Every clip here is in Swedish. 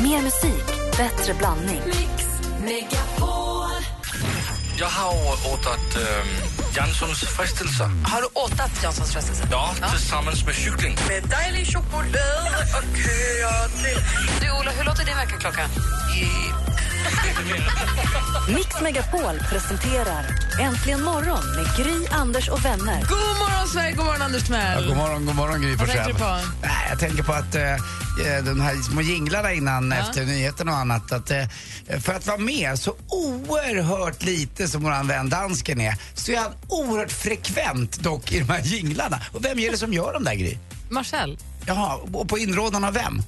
Mer musik, bättre blandning. Mix Megapol. Jag har åtat ähm, Janssons frestelser. Har du åtat Janssons frestelse? Ja, tillsammans med kyckling. Med dejlig choklad och köa till... Du, Ola, hur låter din väckarklocka? Mix Megapol presenterar Äntligen morgon med Gry, Anders och vänner. God morgon, Sverige! God morgon, Anders Timell! Ja, Alltså, god morgon, god morgon Gry Vad tänker Forssell. du på? Nej, Jag tänker på att eh, de här små jinglarna innan efter nyheterna och annat. Att, eh, för att vara med så oerhört lite som våran vän dansken är så är han oerhört frekvent dock i de här jinglarna. Och vem är det som gör de där Gry? Marcel? Jaha, och på inrådan av vem?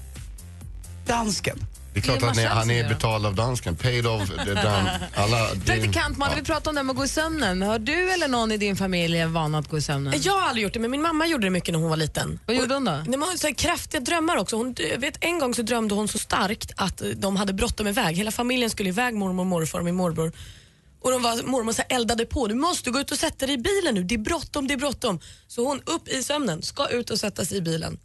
Dansken. Det är klart Det är att ni, Marcel han som gör är det. betald av dansken. Paid of the dan, alla, Praktikant Mm. Malin, vi pratade om det här med att gå i sömnen. Har du eller någon i din familj en vana att gå i sömnen? Eh, Jag har aldrig gjort det, men min mamma gjorde det mycket när hon var liten. Vad gjorde hon då? Nej, men hon hade kraftiga drömmar också. Hon, jag vet, en gång så drömde hon så starkt att eh, de hade bråttom iväg. Hela familjen skulle iväg, mormor, morfar och min morbror. Och de var, mormor så här eldade på. Du måste gå ut och sätta dig i bilen nu. Det är bråttom, det är bråttom. Så hon upp i sömnen, ska ut och sätta sig i bilen.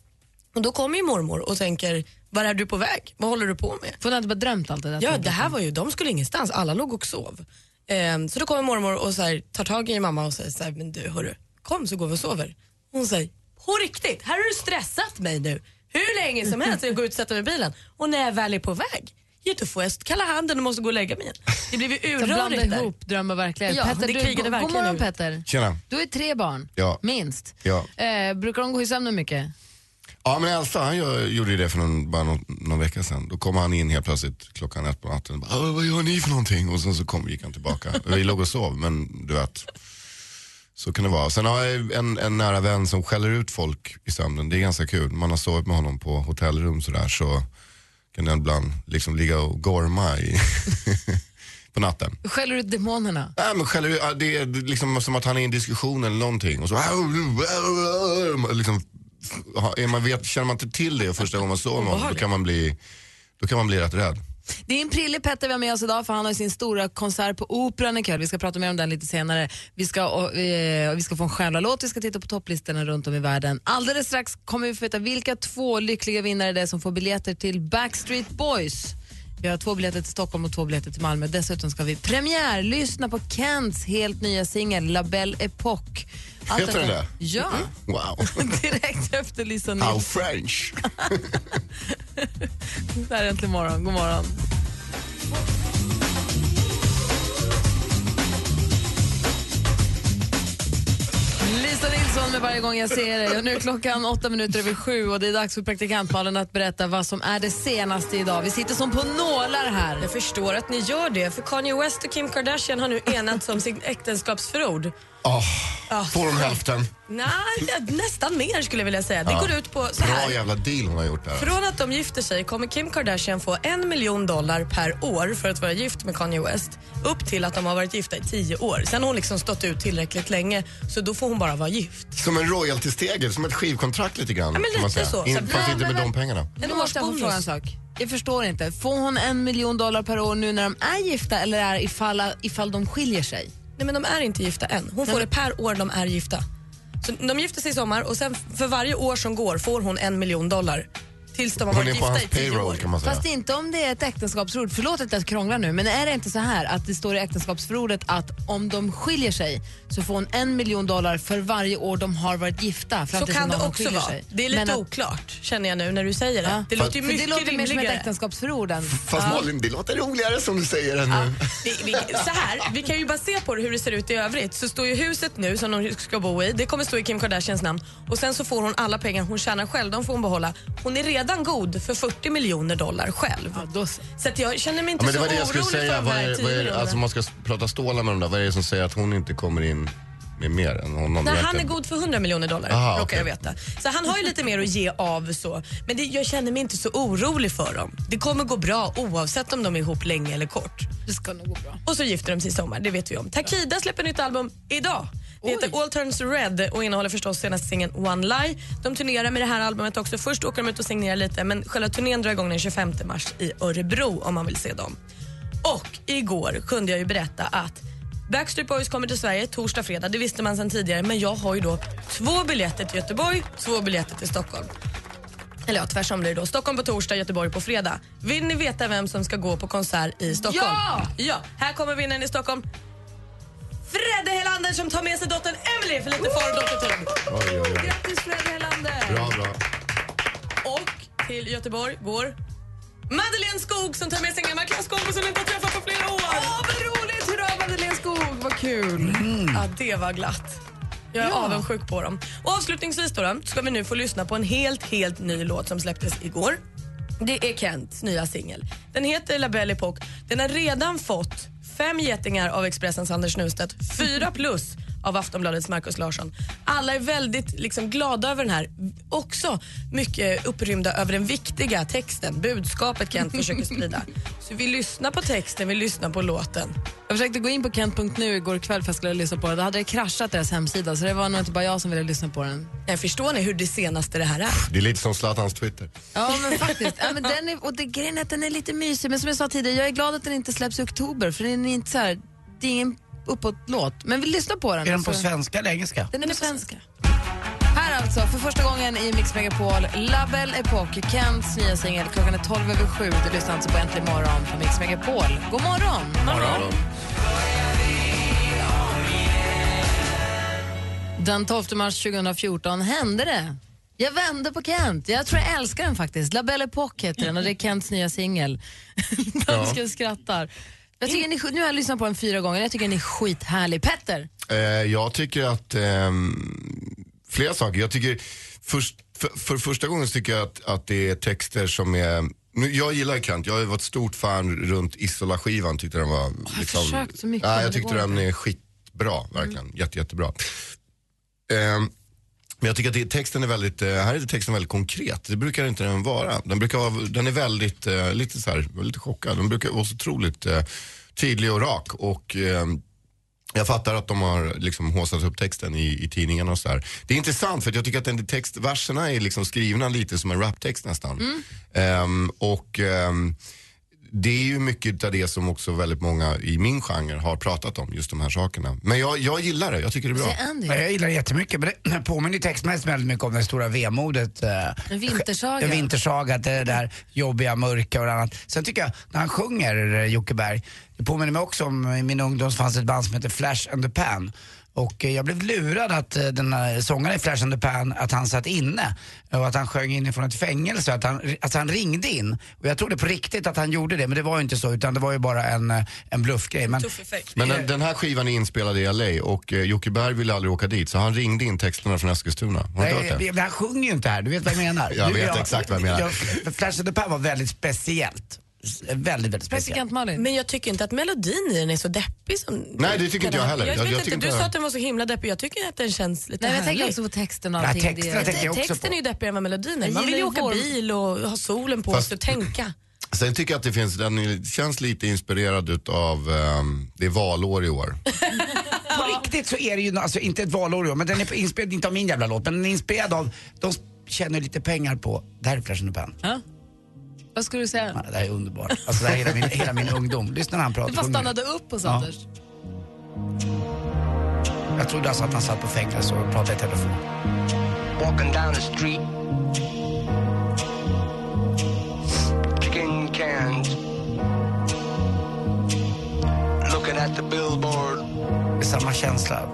Och då kommer ju mormor och tänker, var är du på väg? Vad håller du på med? För hon hade bara drömt allt det där. Ja, det här var ju, de skulle ingenstans, alla låg och sov. Ehm, så då kommer mormor och så här, tar tag i mamma och säger så här, men du hörru, kom så går vi och sover. Hon säger, på riktigt, här har du stressat mig nu. Hur länge som helst jag går ut och sätter mig i bilen och när jag väl är på väg, ja, då får jag kalla handen och måste gå och lägga mig igen. Det blev ju Jag blandade urrörigt där. ihop dröm och verklighet. Ja, Petter, du, det krigade god- god verkligen morgon ur. Petter. Tjena. Du har ju tre barn, Ja. minst. Ja. Eh, brukar de gå i sömnen mycket? Ja men Elsa han gör, gjorde ju det för någon, bara någon, någon vecka sedan. Då kom han in helt plötsligt klockan ett på natten och bara, "Åh, vad gör ni för någonting? Och sen så kom, gick han tillbaka. Vi låg och sov men du vet. Så kan det vara. Sen har jag en, en nära vän som skäller ut folk i sömnen. Det är ganska kul. Man har sovit med honom på hotellrum sådär så kan den ibland liksom ligga och gorma i, på natten. Skäller ut demonerna? Nej, men själv, ja, det är liksom som att han är i en diskussion eller någonting och så liksom, ha- är man vet, känner man inte till det första gången man såg någon då kan man bli, då kan man bli rätt rädd. Det är en prillig Petter vi har med oss idag för han har ju sin stora konsert på Operan ikväll. Vi ska prata mer om den lite senare. Vi ska, och, eh, vi ska få en själalåt, vi ska titta på topplistorna runt om i världen. Alldeles strax kommer vi få veta vilka två lyckliga vinnare det är som får biljetter till Backstreet Boys. Vi har två biljetter till Stockholm och två biljetter till Malmö. Dessutom ska vi premiärlyssna på Kents helt nya singel La Belle Époque. Allt Heter den detta- det? Ja, Wow, direkt efter Lisa how Nilsson. French. Det här är Äntligen morgon. God morgon. Lisa Nilsson med Varje gång jag ser dig. Och nu är klockan åtta minuter över sju och det är dags för praktikantmalen att berätta vad som är det senaste idag. Vi sitter som på nålar här. Jag förstår att ni gör det, för Kanye West och Kim Kardashian har nu enats om sin äktenskapsförord. Ah. Oh, får hon hälften? Nej, nästan mer skulle jag vilja säga. Det går ut på så här. Bra jävla deal hon har gjort där. Från att de gifter sig kommer Kim Kardashian få en miljon dollar per år för att vara gift med Kanye West. Upp till att de har varit gifta i tio år. Sen har hon liksom stått ut tillräckligt länge så då får hon bara vara gift. Som en royaltystege, som ett skivkontrakt lite grann. men kan man lite säga. så. Så In, att- fast Nej, inte med men- de pengarna. En Nu måste jag få årsbonus. fråga en sak. Jag förstår inte. Får hon en miljon dollar per år nu när de är gifta eller är ifall, ifall de skiljer sig? Nej men de är inte gifta än. Hon får det per år de är gifta. Så de gifter sig i sommar och sen för varje år som går får hon en miljon dollar. Tills de har Hon varit är på hans gifta i tio år. payroll kan man säga. Fast inte om det är ett äktenskapsförord. Förlåt att jag krånglar nu, men är det inte så här att det står i äktenskapsförordet att om de skiljer sig så får hon en miljon dollar för varje år de har varit gifta? Fram Så tills kan det när de också skiljer vara. sig. Det är lite Men att- oklart känner jag nu när du säger det. Ja. Det låter ju För det mycket låter mer som ett rimligare. äktenskapsförord än... Fast Malin, det låter roligare som du säger än nu. Vi, vi, så här, vi kan ju bara se på det, hur det ser ut i övrigt. Så står ju huset nu som de ska bo i, det kommer stå i Kim Kardashians namn. Och sen så får hon alla pengar hon tjänar själv, de får hon behålla. Hon är redan god för 40 miljoner dollar själv. Ja, då så. Så att jag känner mig inte Ja, men det så var det jag skulle orolig säga. för de Vad här är, vad är, tio alltså om man ska s- prata stålar med dem där, vad är det som säger att hon inte kommer in med mer än honom? Nej, han är egentligen? god för 100 miljoner dollar, Aha, råkar okej. jag veta. Så han har ju lite mer att ge av så. Men det, jag känner mig inte så orolig för dem. Det kommer gå bra oavsett om de är ihop länge eller kort. Det ska nog gå bra. Och så gifter de sig i sommar, det vet vi om. Takida släpper nytt album idag. Det heter All Turns Red och innehåller förstås senaste singeln One Lie. De turnerar med det här albumet också. Först åker de ut och signerar lite men själva turnén drar igång den 25 mars i Örebro om man vill se dem. Och igår kunde jag ju berätta att Backstreet Boys kommer till Sverige torsdag, fredag. Det visste man sedan tidigare men jag har ju då två biljetter till Göteborg, två biljetter till Stockholm. Eller ja, tvärsom blir det då. Stockholm på torsdag, Göteborg på fredag. Vill ni veta vem som ska gå på konsert i Stockholm? Ja! ja här kommer vinnaren i Stockholm. Fredde Helander som tar med sig dottern Emily för lite far och dottertid. Oj, oj, oj. Grattis Fredde Helander! Bra, bra. Och till Göteborg går Madeleine Skog som tar med sig en gammal klasskompis som inte har träffat på flera år. Åh, vad roligt! Hurra, Madeleine Skog! Vad kul! Ja, det var glatt. Jag är avundsjuk på dem. Och avslutningsvis då, då ska vi nu få lyssna på en helt, helt ny låt som släpptes igår. Det är Kents nya singel. Den heter La Belle Époque. Den har redan fått fem getingar av Expressens Anders Nunstedt, fyra plus av Aftonbladets Markus Larsson. Alla är väldigt liksom, glada över den här. Också mycket upprymda över den viktiga texten, budskapet Kent försöker sprida. Så vi lyssnar på texten, vi lyssnar på låten. Jag försökte gå in på Kent.nu igår kväll för jag skulle lyssna på det. Då hade det kraschat deras hemsida så det var nog inte bara jag som ville lyssna på den. Nej, förstår ni hur det senaste det här är? Det är lite som Zlatans Twitter. Ja, men faktiskt. Ja, men den är, och det, grejen är att den är lite mysig, men som jag sa tidigare, jag är glad att den inte släpps i oktober för den är inte så här, det är ingen uppåt-låt. Men vi lyssnar på den. Är den på så- svenska eller engelska? Den är på svenska. Här alltså, för första gången i Mix Megapol, La Belle Époque, Kents nya singel. Klockan är 12 över sju. Du lyssnar alltså på Äntligen morgon på Mix Megapol. God morgon! Den 12 mars 2014 hände det. Jag vände på Kent. Jag tror jag älskar den faktiskt. La Belle Époque heter den och det är Kents nya singel. Dansken skrattar. Jag tycker ni, nu har jag lyssnat på den fyra gånger. Jag tycker den är skithärlig. Petter! Eh, jag tycker att, ehm, flera saker. Jag tycker, först, för, för första gången så tycker jag att, att det är texter som är, nu, jag gillar Kant, jag har ju varit stort fan runt Isola-skivan, tyckte den var... Jag försökt så mycket, Ja, men jag det tyckte går Mm. den är skitbra, verkligen. Jätte, jättebra. Ehm, men jag tycker att det, texten är väldigt, eh, här är texten väldigt konkret. Det brukar inte den vara. Den, brukar vara, den är väldigt, eh, lite så här, jag var lite chockad. Den brukar vara så otroligt eh, tydlig och rak. Och ehm, jag fattar att de har liksom haussat upp texten i, i tidningarna och sådär. Det är intressant för att jag tycker att den text, verserna är liksom skrivna lite som en raptext nästan. Ehm, och ehm, det är ju mycket av det som också väldigt många i min genre har pratat om, just de här sakerna. Men jag, jag gillar det, jag tycker det är bra. Säg Andy. Ja, Jag gillar det jättemycket, men det påminner ju textmässigt väldigt mycket om det stora vemodet. eh, En vintersaga. En vintersaga, att det är det där jobbiga, mörka och annat. Sen tycker jag, när han sjunger eh, Jocke Berg, det påminner mig också om eh, i min ungdom så fanns ett band som hette Flash and the Pan. Och eh, jag blev lurad att eh, den här sångaren i Flash and the Pan, att han satt inne eh, och att han sjöng inifrån ett fängelse. Att han, alltså han ringde in. Och jag trodde på riktigt att han gjorde det, men det var ju inte så utan det var ju bara en, eh, en bluffgrej. Men eh, Tuff effekt. Men den, den här skivan är inspelad i LA och eh, Jocke Berg ville aldrig åka dit så han ringde in texterna från Eskilstuna. Har du inte Nej, hört det? men han sjunger ju inte här, du vet vad jag menar. Jag du, vet exakt vad jag menar. jag- Flash of the Pan var väldigt speciellt. S- Väldigt, väldigt speciellt. Praktikant Malin. Men jag tycker inte att melodin i den är så deppig som... Nej, det tycker inte jag heller. Jag, Jag- vet jag inte, tycker du inte- sa att den var så himla deppig. Jag tycker att den känns lite Nej, men jag tänker härlig. också på texten och Ja, allting. texterna Det är- tänker jag också Texten på. är ju deppigare än vad melodin är. Jag Man vill ju gillar åka ju vår- bil och ha solen på Fast- sig och tänka. Sen tycker jag att det finns, den känns lite inspirerad utav, ehm, det är valår i år. På riktigt så är det ju, alltså inte ett valår i år, men den är inspelad, inte av min jävla låt, men den är inspelad av, de tjänar lite pengar på, det här är Flash and the Pan. Ja. Vad skulle du säga? Ja, Det här är underbart. Alltså det här är hela min, hela min ungdom. Lyssna när han pratar. Du bara sjunger. stannade upp hos Ja. Anders. Jag trodde alltså att han satt på fängelse och pratade i telefon. walking down the street. Chicken cans. Looking at the billboard. Det är samma känsla.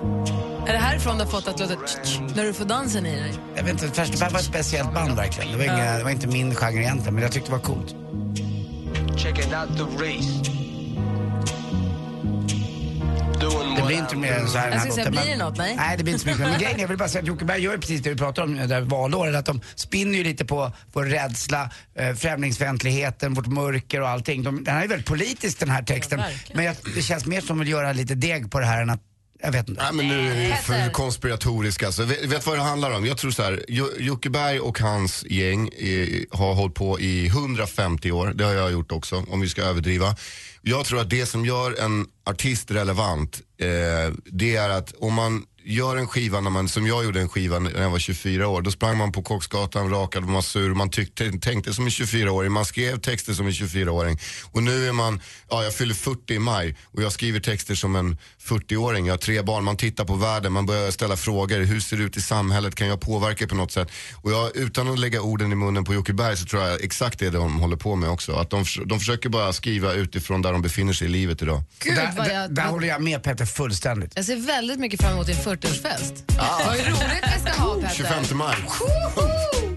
Är det härifrån du har fått att låta tsch-tsch när du får dansen i dig? Jag vet inte, Flash and the Pan var ett speciellt band verkligen. Det var, inga, det var inte min genre egentligen, men jag tyckte det var coolt. Checking out the race. Doing Det what blir inte I'm mer än så här. den Jag skulle här säga, låten, blir men- det något? Nej. Nej, det blir inte så mycket. Men grejen är, jag vill bara säga att Jocke Berg gör ju precis det vi pratar om det där valåret. Att de spinner ju lite på vår rädsla, eh, främlingsfientligheten, vårt mörker och allting. De, den här är väldigt politisk den här texten. Ja, verkligen. men jag, det känns mer som att göra lite deg på det här än att, jag vet inte. Nej men nu är vi för Peter. konspiratoriska. Alltså, vet, vet vad det handlar om? Jag tror så här, Jo- Jocke Berg och hans gäng eh, har hållit på i 150 år. Det har jag gjort också, om vi ska överdriva. Jag tror att det som gör en artist relevant, eh, det är att om man gör en skiva, när man, som jag gjorde en skiva när jag var 24 år, då sprang man på Koksgatan, rakade, man var sur, man tyckte, tänkte som en 24-åring, man skrev texter som en 24-åring. Och nu är man, ja jag fyller 40 i maj och jag skriver texter som en 40-åring, jag har tre barn, man tittar på världen, man börjar ställa frågor, hur ser det ut i samhället, kan jag påverka på något sätt? Och jag, utan att lägga orden i munnen på Jocke Berg så tror jag exakt det är det de håller på med också. Att de, förs- de försöker bara skriva utifrån där de befinner sig i livet idag. Gud, där, vad där, jag, där vad- håller jag med Peter fullständigt. jag ser väldigt mycket fram emot din 40-årsfest. Vad roligt vi ska ha, Petter. 25 maj.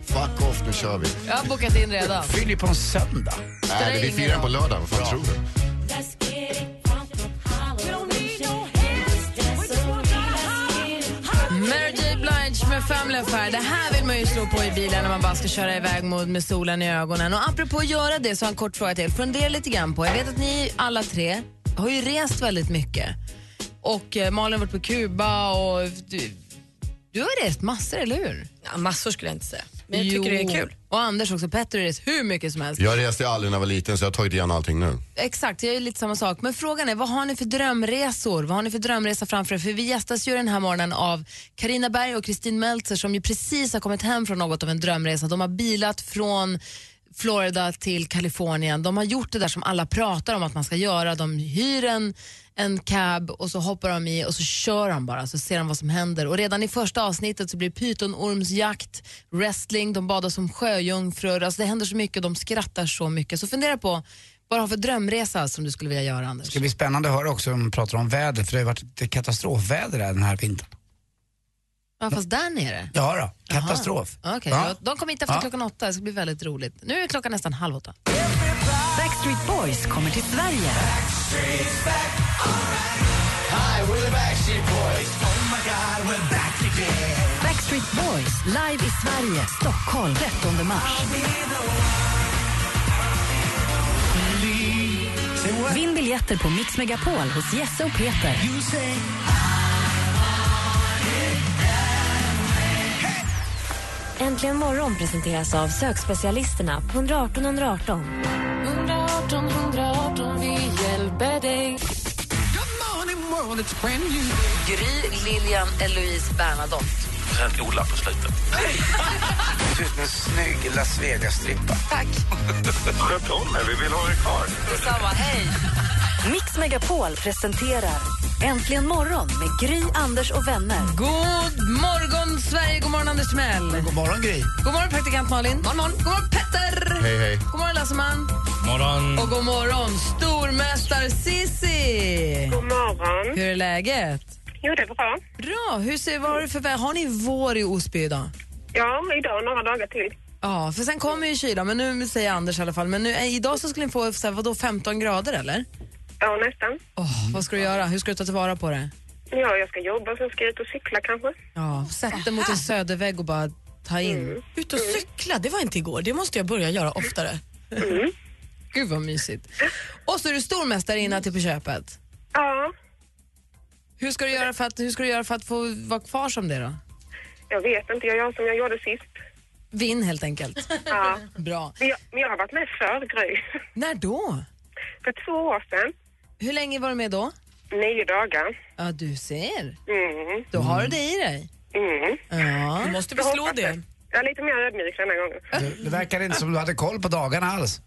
Fuck off, nu kör vi. Jag har bokat in redan. Fyller ju på en söndag. spelar Nej, vi ingen firar den på roll. lördag, vad fan tror du? Mary J Blige med Family Affair. Det här vill man ju slå på i bilen när man bara ska köra iväg mot med solen i ögonen. Och apropå att göra det så har jag en kort fråga till er. Fundera lite grann på, jag vet att ni alla tre har ju rest väldigt mycket. Och eh, Malin har varit på Kuba och du, du har rest massor, eller hur? Ja, massor skulle jag inte säga. Men jag tycker Jo. det är kul. Och Anders också, Petter har rest hur mycket som helst. Jag reste aldrig när jag var liten så jag har tagit igen allting nu. Exakt, jag är lite samma sak. Men frågan är, vad har ni för drömresor? Vad har ni för drömresa framför er? För vi gästas ju den här morgonen av Karina Berg och Kristin Meltzer som ju precis har kommit hem från något av en drömresa. De har bilat från Florida till Kalifornien. De har gjort det där som alla pratar om att man ska göra. De hyr en, en cab och så hoppar de i och så kör de bara så ser de vad som händer. Och redan i första avsnittet så blir det pytonormsjakt, wrestling, de badar som sjöjungfrur. Alltså det händer så mycket och de skrattar så mycket. Så fundera på vad du har för drömresa som du skulle vilja göra Anders? Det ska bli spännande att höra också om de pratar om väder, för det har varit ett katastrofväder här den här vintern. Ja, fast där nere? Ja då, katastrof. Okej, Ja. ja, de kommer inte efter Ja. klockan åtta, det ska bli väldigt roligt. Nu är klockan nästan halv åtta. Backstreet Boys kommer till Sverige. Backstreet Boys live i Sverige, Stockholm 13 mars. Vinn biljetter på Mix Megapol hos Jesse och Peter. Äntligen morgon presenteras av sökspecialisterna på 118 118. Gry, Lilian, Eloise, Bernadotte. Sen Ola på slutet. ser ut som Typ en snygg Las Vegas-strippa. Sköt om er, vi vill ha er kvar. Detsamma, hej! Mix Megapol presenterar Äntligen morgon med Gry, Anders och vänner. God morgon Sverige, god morgon Anders Timell. God morgon Gry. God morgon praktikant Malin. God morgon, god morgon Petter. Hej, hej. God morgon Lasseman. Morgon. Och god morgon stormästare Sissi. God morgon. Hur är läget? Jo, det är bra. Bra, hur ser, vad har, du för, vä- har ni vår i Osby idag? Ja, men idag några dagar till. Ja, för sen kommer ju kylan, men nu säger Anders i alla fall. Men nu, eh, idag så skulle ni få så här, vadå, 15 grader eller? Ja, nästan. Åh, vad ska du göra? Hur ska du ta tillvara på det? Ja, jag ska jobba, sen ska jag ut och cykla kanske. Ja, sätt dig mot en södervägg och bara ta in. Ut och cykla, det var inte igår. Det måste jag börja göra oftare. Gud vad mysigt. Och så är du stormästarinna till på köpet. Ja, Hur ska du göra för att, hur ska du göra för att få vara kvar som det då? jag vet inte, jag gör som jag gjorde sist. Vinn helt enkelt. Ja. Bra. Men jag, men jag har varit med förr, Gry. När då? För två år sedan. Hur länge var du med då? Nio dagar. Ja, du ser. Mm, Då har du det i dig. mm. Ja. Då måste vi Jag slå hoppas det. Jag är lite mer ödmjuk denna gången. Det, det verkar inte som du hade koll på dagarna alls.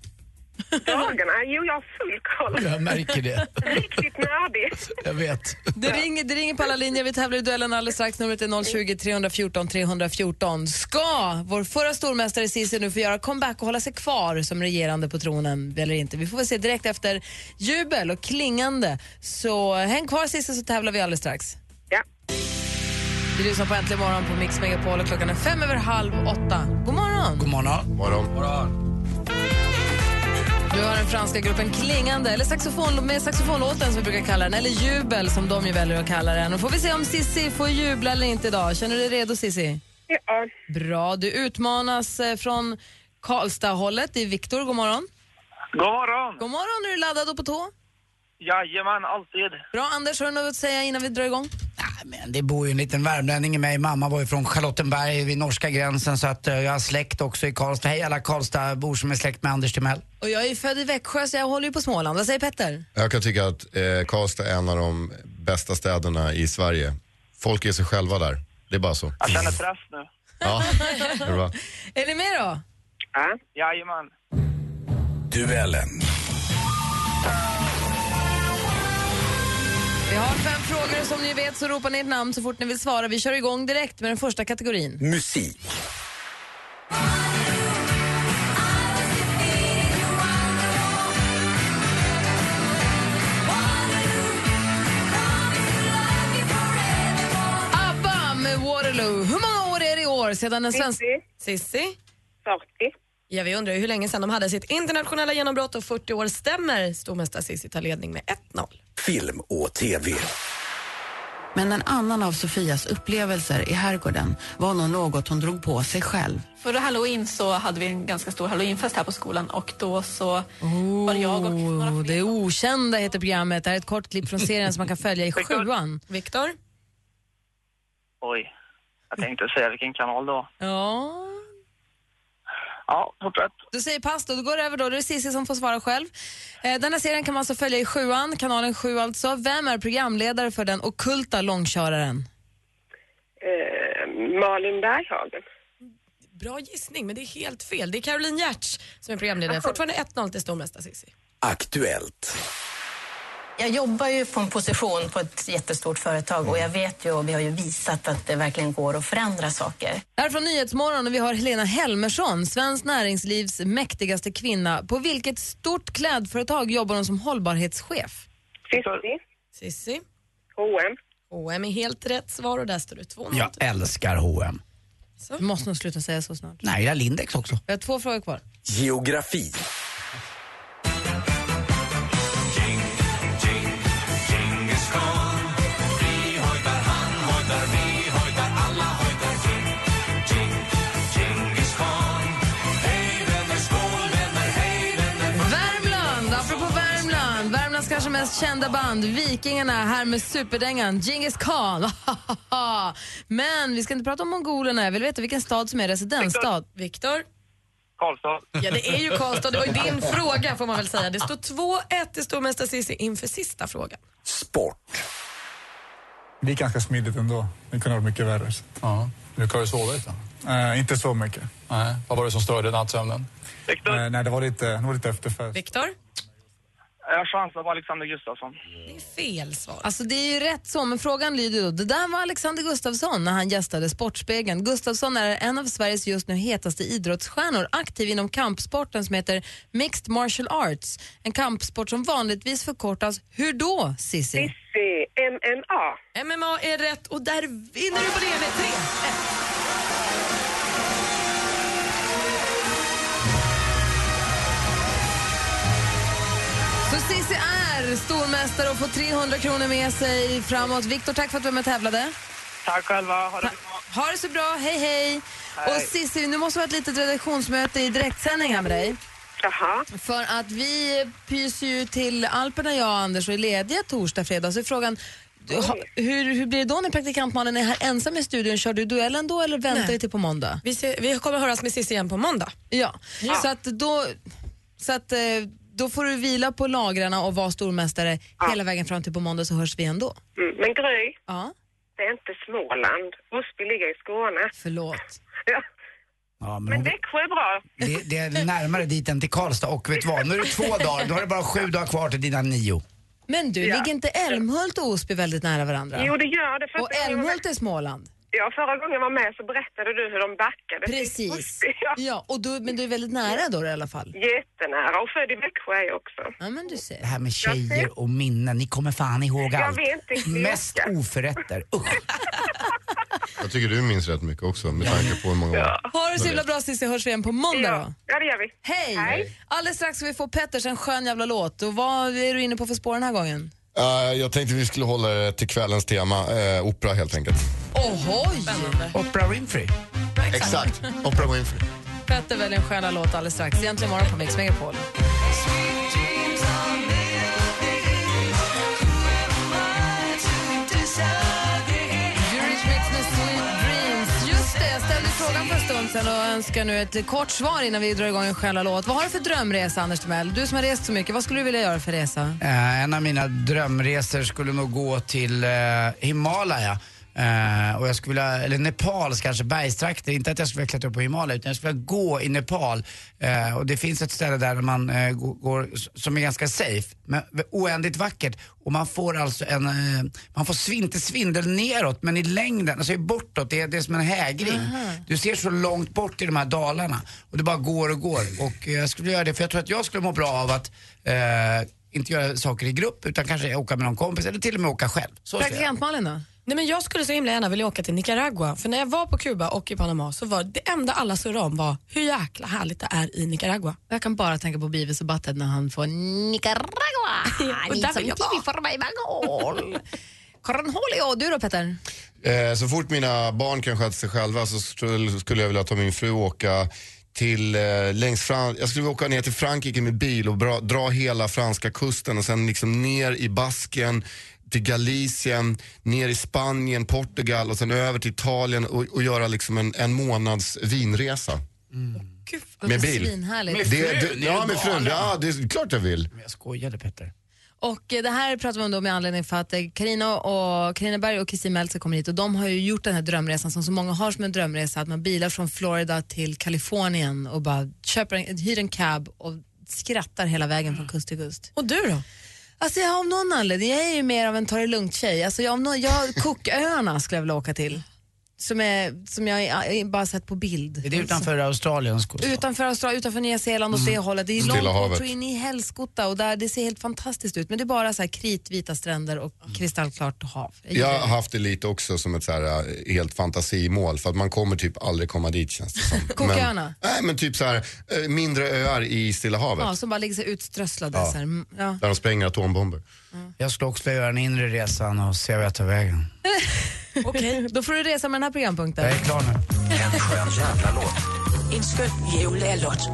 Dagarna? Jo, jag har full koll. Jag märker det. Riktigt nördig. Jag vet. Det ringer, det ringer på alla linjer. Vi tävlar i duellen alldeles strax. Numret är 020 314 314. Ska vår förra stormästare Cissi nu få göra comeback och hålla sig kvar som regerande på tronen eller inte? Vi får väl se direkt efter jubel och klingande. Så häng kvar Cissi så tävlar vi alldeles strax. Ja. Du lyssnar på Äntligen morgon på Mix Megapol och klockan är fem över halv åtta. God morgon! God morgon. Morgon. Du har den franska gruppen Klingande, eller saxofon, med saxofonlåten som vi brukar kalla den, eller Jubel som de ju väljer att kalla den. Och får vi se om Sissi får jubla eller inte idag. Känner du dig redo Sissi? Ja. Bra, du utmanas eh, från Karlstad-hållet. Det är Viktor, god morgon. God morgon! God morgon, är du laddad och på tå? Jajamän, alltid. Bra, Anders, har du något att säga innan vi drar igång? Nej, men det bor ju en liten värmlänning i mig. Mamma var ju från Charlottenberg vid norska gränsen så att eh, jag har släkt också i Karlstad. Hej alla Karlstadbor som är släkt med Anders Timell. Och jag är ju född i Växjö så jag håller ju på Småland. Vad säger Petter? Jag kan tycka att eh, Karlstad är en av de bästa städerna i Sverige. Folk är sig själva där. Det är bara så. Jag känner press nu. Ja, det är bra. Är ni med då? Ja. Äh? Jajamän. Duellen. Vi har fem frågor och som ni vet så ropar ni ert namn så fort ni vill svara. Vi kör igång direkt med den första kategorin. Musik. ABBA med Waterloo. Hur många år är det i år sedan den svenska... Sissi? 40. Ja, vi undrar ju hur länge sedan de hade sitt internationella genombrott och 40 år stämmer. Stormästare Cissi tar ledning med 1-0. Film och TV. Men en annan av Sofias upplevelser i herrgården var nog något hon drog på sig själv. Förra halloween så hade vi en ganska stor halloweenfest här på skolan och då så var det jag och några Oh, det okända heter programmet. Det här är ett kort klipp från serien som man kan följa i sjuan. Viktor? Oj. Jag tänkte säga vilken kanal det var. Ja. Ja, fortsätt. Du säger pass då, då går det över då. Då är det Cissi som får svara själv. Eh, den här serien kan man alltså följa i sjuan, kanalen 7 alltså. Vem är programledare för den okulta långköraren? Eh, Malin Berghagen. Bra gissning, men det är helt fel. Det är Caroline Giertz som är programledare. Fortfarande 1-0 till stormästare Cissi. Aktuellt. Jag jobbar ju på en position på ett jättestort företag och jag vet ju och vi har ju visat att det verkligen går att förändra saker. Det här är från Nyhetsmorgon och vi har Helena Helmersson, Svenskt Näringslivs mäktigaste kvinna. På vilket stort klädföretag jobbar hon som hållbarhetschef? Sissi. Sissi. H&M. H&M är helt rätt svar och där står det Alltså. 2-0. Jag älskar H&M. Du måste nog sluta säga så snart. Nej, jag gillar Lindex också. Vi har två frågor kvar. Geografi. Värmland, apropå Värmland. Värmlands kanske mest kända band, Vikingarna, här med superdängan Djingis Khan. Men vi ska inte prata om mongolerna. Jag vill veta vilken stad som är residensstad. Viktor? Karlstad. Ja, det är ju Karlstad. Det var ju din fråga får man väl säga. Det står 2-1 till stormästare Cissi inför sista frågan. Sport. Det gick ganska smidigt ändå. Det kunde ha varit mycket värre. Så. Ja. Du kan ju sova lite. Eh, inte så mycket. Nej. Vad var det som störde nattsömnen? Eh, nej, det var lite, det var lite efterfest. Viktor? Jag chansar på Alexander Gustafsson. Fel svar. Alltså det är ju rätt så, men frågan lyder då. Det där var Alexander Gustafsson när han gästade Sportspegeln. Gustafsson är en av Sveriges just nu hetaste idrottsstjärnor, aktiv inom kampsporten som heter Mixed Martial Arts. En kampsport som vanligtvis förkortas hur då, Sissi? Sissi. MMA. MMA är rätt och där vinner du på det med 3 Så Cissi är stormästare och får 300 kronor med sig framåt. Viktor, tack för att du var med och tävlade. Tack själva. Ha det bra. Ha det så bra, hej hej. Hej. Och Cissi, nu måste vi ha ett litet redaktionsmöte i direktsändning här med dig. Jaha. För att vi pyser ju till Alperna jag och Anders och är lediga torsdag, fredag. Så är frågan, du, ha, hur, hur blir det då när praktikantmannen är här ensam i studion? Kör du duellen då eller väntar Nej. vi till på måndag? Vi, ser, vi kommer höras med Cissi igen på måndag. Ja, så att då... Så att, eh, då får du vila på lagrarna och vara stormästare hela vägen fram till på måndag så hörs vi ändå. Mm. Men Gry, Ja, det är inte Småland. Osby ligger i Skåne. förlåt. Ja. Ja, men Men hon, Växjö är bra. det, det är närmare dit än till Karlstad och vet du vad, nu är det två dagar, då har det bara sju dagar kvar till dina nio. Men du, Ja. ligger inte Älmhult och Osby väldigt nära varandra? Jo, det gör det. Första Och gången jag var med- Älmhult är Småland? Ja, förra gången jag var med så berättade du hur de backade. Precis. Ja, och du, men du är väldigt nära då i alla fall? Jättenära. Och född i Växjö är jag också. Ja, men du ser. Det här med tjejer och minnen, ni kommer fan ihåg Jag allt. vet inte, jag Mest oförrätter, usch. Jag tycker du minns rätt mycket också med tanke på hur många år. Ha det så himla bra Cissi, hörs vi igen på måndag då. Ja, det gör vi. Hej! Alldeles strax ska vi få Petters en skön jävla låt. Och vad är du inne på för spår den här gången? Eh, jag tänkte vi skulle hålla det till kvällens tema, eh, opera helt enkelt. Ohoj! Oprah Winfrey. Exakt, Oprah Winfrey. Petter väljer en skön jävla låt alldeles strax. Egentligen morgon på Mix Megapol. Eurythmics med Sweet Dreams. Just det, jag ställde frågan för en stund sedan och önskar nu ett kort svar innan vi drar igång en själva låt. Vad har du för drömresa, Anders Timell? Du som har rest så mycket, vad skulle du vilja göra för resa? Eh, en av mina drömresor skulle nog gå till eh, Himalaya. Eh, Eh, och jag skulle vilja, eller Nepals kanske, bergstrakter. Inte att jag skulle vilja klättra upp på Himalaya utan jag skulle vilja gå i Nepal. Eh, och det finns ett ställe där man eh, går, går, s- som är ganska safe, men oändligt vackert. Och man får alltså en, eh, man får svin, inte svindel neråt men i längden, alltså i bortåt, det är, det är som en hägring. Du ser så långt bort i de här dalarna och det bara går och går. Och eh, jag skulle göra det för jag tror att jag skulle må bra av att eh, inte göra saker i grupp utan kanske åka med någon kompis eller till och med åka själv. Så skulle jag. Praktikant-Malin då? Nej, men jag skulle så himla gärna vilja åka till Nicaragua. För när jag var på Kuba och i Panama så var det enda alla surrade om var hur jäkla härligt det är i Nicaragua. Jag kan bara tänka på Beavis och Butthead när han får Nicaragua. och där vill jag vara. Cornholio, du då Petter? Eh, så fort mina barn kan sköta sig själva så skulle skulle jag vilja ta min fru och åka till eh, längs fram, jag skulle vilja åka ner till Frankrike med bil och bra, dra hela franska kusten och sen liksom ner i Basken, till Galicien, ner i Spanien, Portugal och sen över till Italien och, och göra liksom en, en månads vinresa. Med bil. Svinhärligt. Det, det, ja, med frun. Ja, det är klart jag vill. Jag skojade Petter. Och eh, det här pratar vi om då med anledning för att eh, Carina och Carina Berg och Kristin Meltzer kommer hit och de har ju gjort den här drömresan som så många har som en drömresa att man bilar från Florida till Kalifornien och bara köper en, hyr en cab och skrattar hela vägen från kust till kust. Och du då? Alltså jag, om någon anledning, jag är ju mer av en ta det lugnt-tjej. Alltså jag, om någon, jag, Cooköarna skulle jag vilja åka till. Som, är, som jag eh, bara sett på bild. Är det utanför Australiens kust? Utanför Australien, utanför Nya Zeeland och Mm. det hållet. Det är Stilla långt bort havet. så in i helskotta och där, det ser helt fantastiskt ut. Men det är bara så här kritvita stränder och kristallklart hav. Jag gillar Jag det. har haft det lite också som ett så här, eh, helt fantasimål för att man kommer typ aldrig komma dit känns det som. Cooköarna? Nej men typ så här, eh, mindre öar i Stilla havet. Ja, som bara ligger så här utströsslade. Ja. Så här. Mm, Ja. Där de spränger atombomber. Jag skulle också vilja göra den inre resan och se vart jag tar vägen. Okej, då får du resa med den här programpunkten. Jag är klar nu. En skön jävla låt. En skön jävla låt.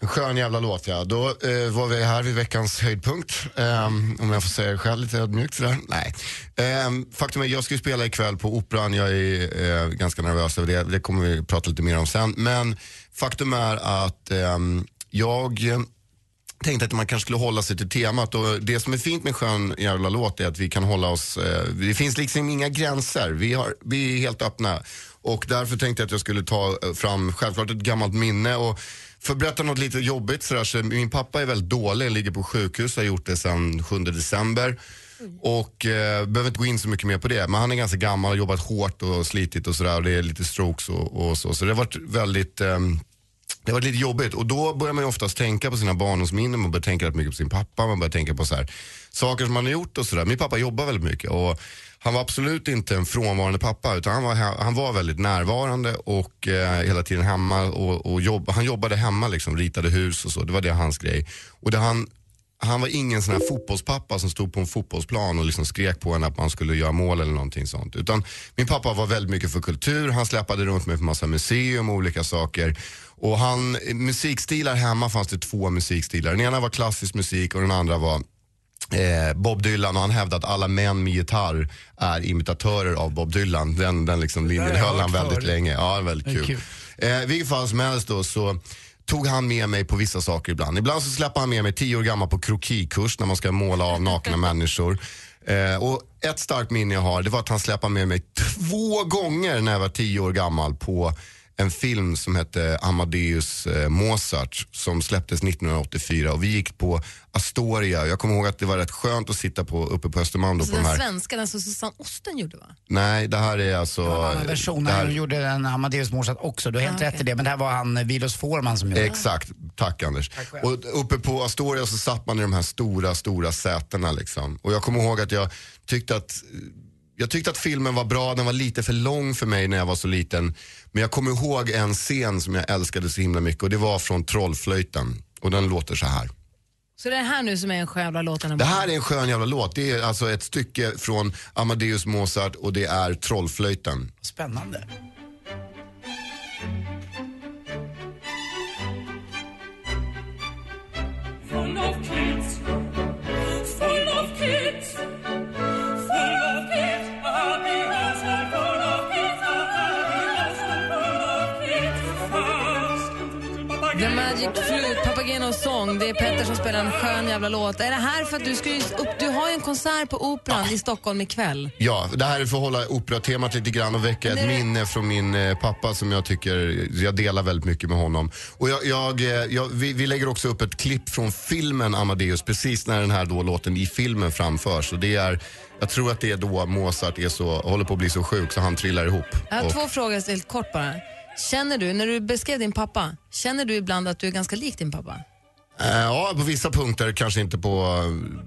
En Skön jävla låt ja. Då eh, var vi här vid veckans höjdpunkt. Ehm, om jag får säga det själv lite ödmjukt sådär. Nej. Ehm, faktum är jag ska ju spela ikväll på Operan. Jag är eh, ganska nervös över det. Det kommer vi prata lite mer om sen. Men faktum är att ehm, jag eh, tänkte att man kanske skulle hålla sig till temat och det som är fint med skön jävla låt är att vi kan hålla oss, eh, det finns liksom inga gränser, vi, har, vi är helt öppna. Och därför tänkte jag att jag skulle ta eh, fram självklart ett gammalt minne och för att berätta något lite jobbigt sådär, så min pappa är väldigt dålig, ligger på sjukhus, har gjort det sedan 7 december. Och eh, behöver inte gå in så mycket mer på det, men han är ganska gammal, har jobbat hårt och slitit och sådär och det är lite strokes och, och så. Så det har varit väldigt ehm, det var lite jobbigt och då börjar man ju oftast tänka på sina barndomsminnen, man börjar tänka rätt mycket på sin pappa, man börjar tänka på så här, saker som man har gjort och sådär. Min pappa jobbar väldigt mycket och han var absolut inte en frånvarande pappa utan han var, han var väldigt närvarande och eh, hela tiden hemma och, och jobb, han jobbade hemma liksom, ritade hus och så, det var det hans grej. Och det han han var ingen sån här fotbollspappa som stod på en fotbollsplan och liksom skrek på en att man skulle göra mål eller någonting sånt. Utan min pappa var väldigt mycket för kultur, han släpade runt mig på massa museum och olika saker. Och han, eh, musikstilar hemma fanns det två musikstilar. Den ena var klassisk musik och den andra var eh, Bob Dylan och han hävdade att alla män med gitarr är imitatörer av Bob Dylan. Den, den liksom linjen har jag höll han hört väldigt förut. länge. Ja, det var väldigt Det är kul. kul. Eh, vilket fall som helst då så tog han med mig på vissa saker ibland. Ibland så släppte han med mig tio år gammal på krokikurs när man ska måla av nakna människor. Eh, och ett starkt minne jag har det var att han släppte med mig två gånger när jag var tio år gammal på en film som hette Amadeus eh, Mozart som släpptes 1984 och vi gick på Astoria. Jag kommer ihåg att det var rätt skönt att sitta på, uppe på Östermalm då Alltså på de den här. svenska, den som Susanne Osten gjorde va? Nej, det här är alltså... Det var en annan version. det här- Han gjorde den Amadeus Mozart också. Du har helt rätt i det. Men det här var han eh, Vilos Forman som gjorde den. Exakt, tack Anders. själv. och uppe på Astoria så satt man i de här stora, stora sätena liksom. Och jag kommer ihåg att jag tyckte att jag tyckte att filmen var bra, den var lite för lång för mig när jag var så liten. Men jag kommer ihåg en scen som jag älskade så himla mycket och det var från Trollflöjten. Och den låter så här. Så det är här nu som är en sjävla låt. Det här är en skön jävla låt. Det är alltså ett stycke från Amadeus Mozart och det är Trollflöjten. Spännande. Full of kids. Full of kids. Full of kids. Happy household full of kids. A happy household full of kids. Fast. The Magic Flute Papagenos sång. Det är Petter som spelar en skön jävla låt. Är det här för att du ska ju upp... Du har ju en konsert på Operan i Stockholm ikväll. Ja, det här är för att hålla operatemat lite grann och väcka ett minne från min eh, pappa som jag tycker, jag delar väldigt mycket med honom. Och jag, jag, eh, jag, vi, vi lägger också upp ett klipp från filmen Amadeus precis när den här då låten i filmen framförs. Och det är, jag tror att det är då Mozart är så, håller på att bli så sjuk så han trillar ihop. Jag har Och- två frågor helt kort bara. Känner du, när du beskrev din pappa, känner du ibland att du är ganska lik din pappa? Eh, Ja, på vissa punkter, kanske inte på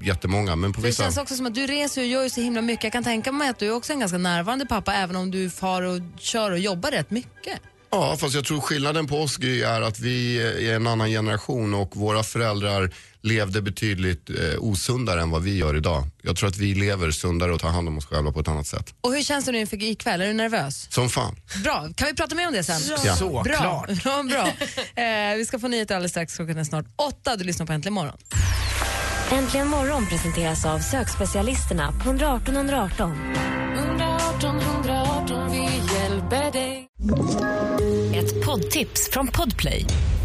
eh, jättemånga, men För på det vissa. känns också som att du reser och gör ju så himla mycket. Jag kan tänka mig att du är också en ganska närvarande pappa även om du far och kör och jobbar rätt mycket. Ja, fast jag tror skillnaden på oss Gry, är att vi är en annan generation och våra föräldrar levde betydligt eh, osundare än vad vi gör idag. Jag tror att vi lever sundare och tar hand om oss själva på ett annat sätt. Och hur känns det nu inför ikväll? Är du nervös? Som fan. Bra, kan vi prata mer om det sen? Ja. Bra. Såklart. Ja, bra. Eh, vi ska få nyheter alldeles strax. Klockan är snart åtta. Du lyssnar på Äntligen morgon. Äntligen morgon presenteras av sökspecialisterna på 118 118. 118 118 vi hjälper dig Ett poddtips från Podplay.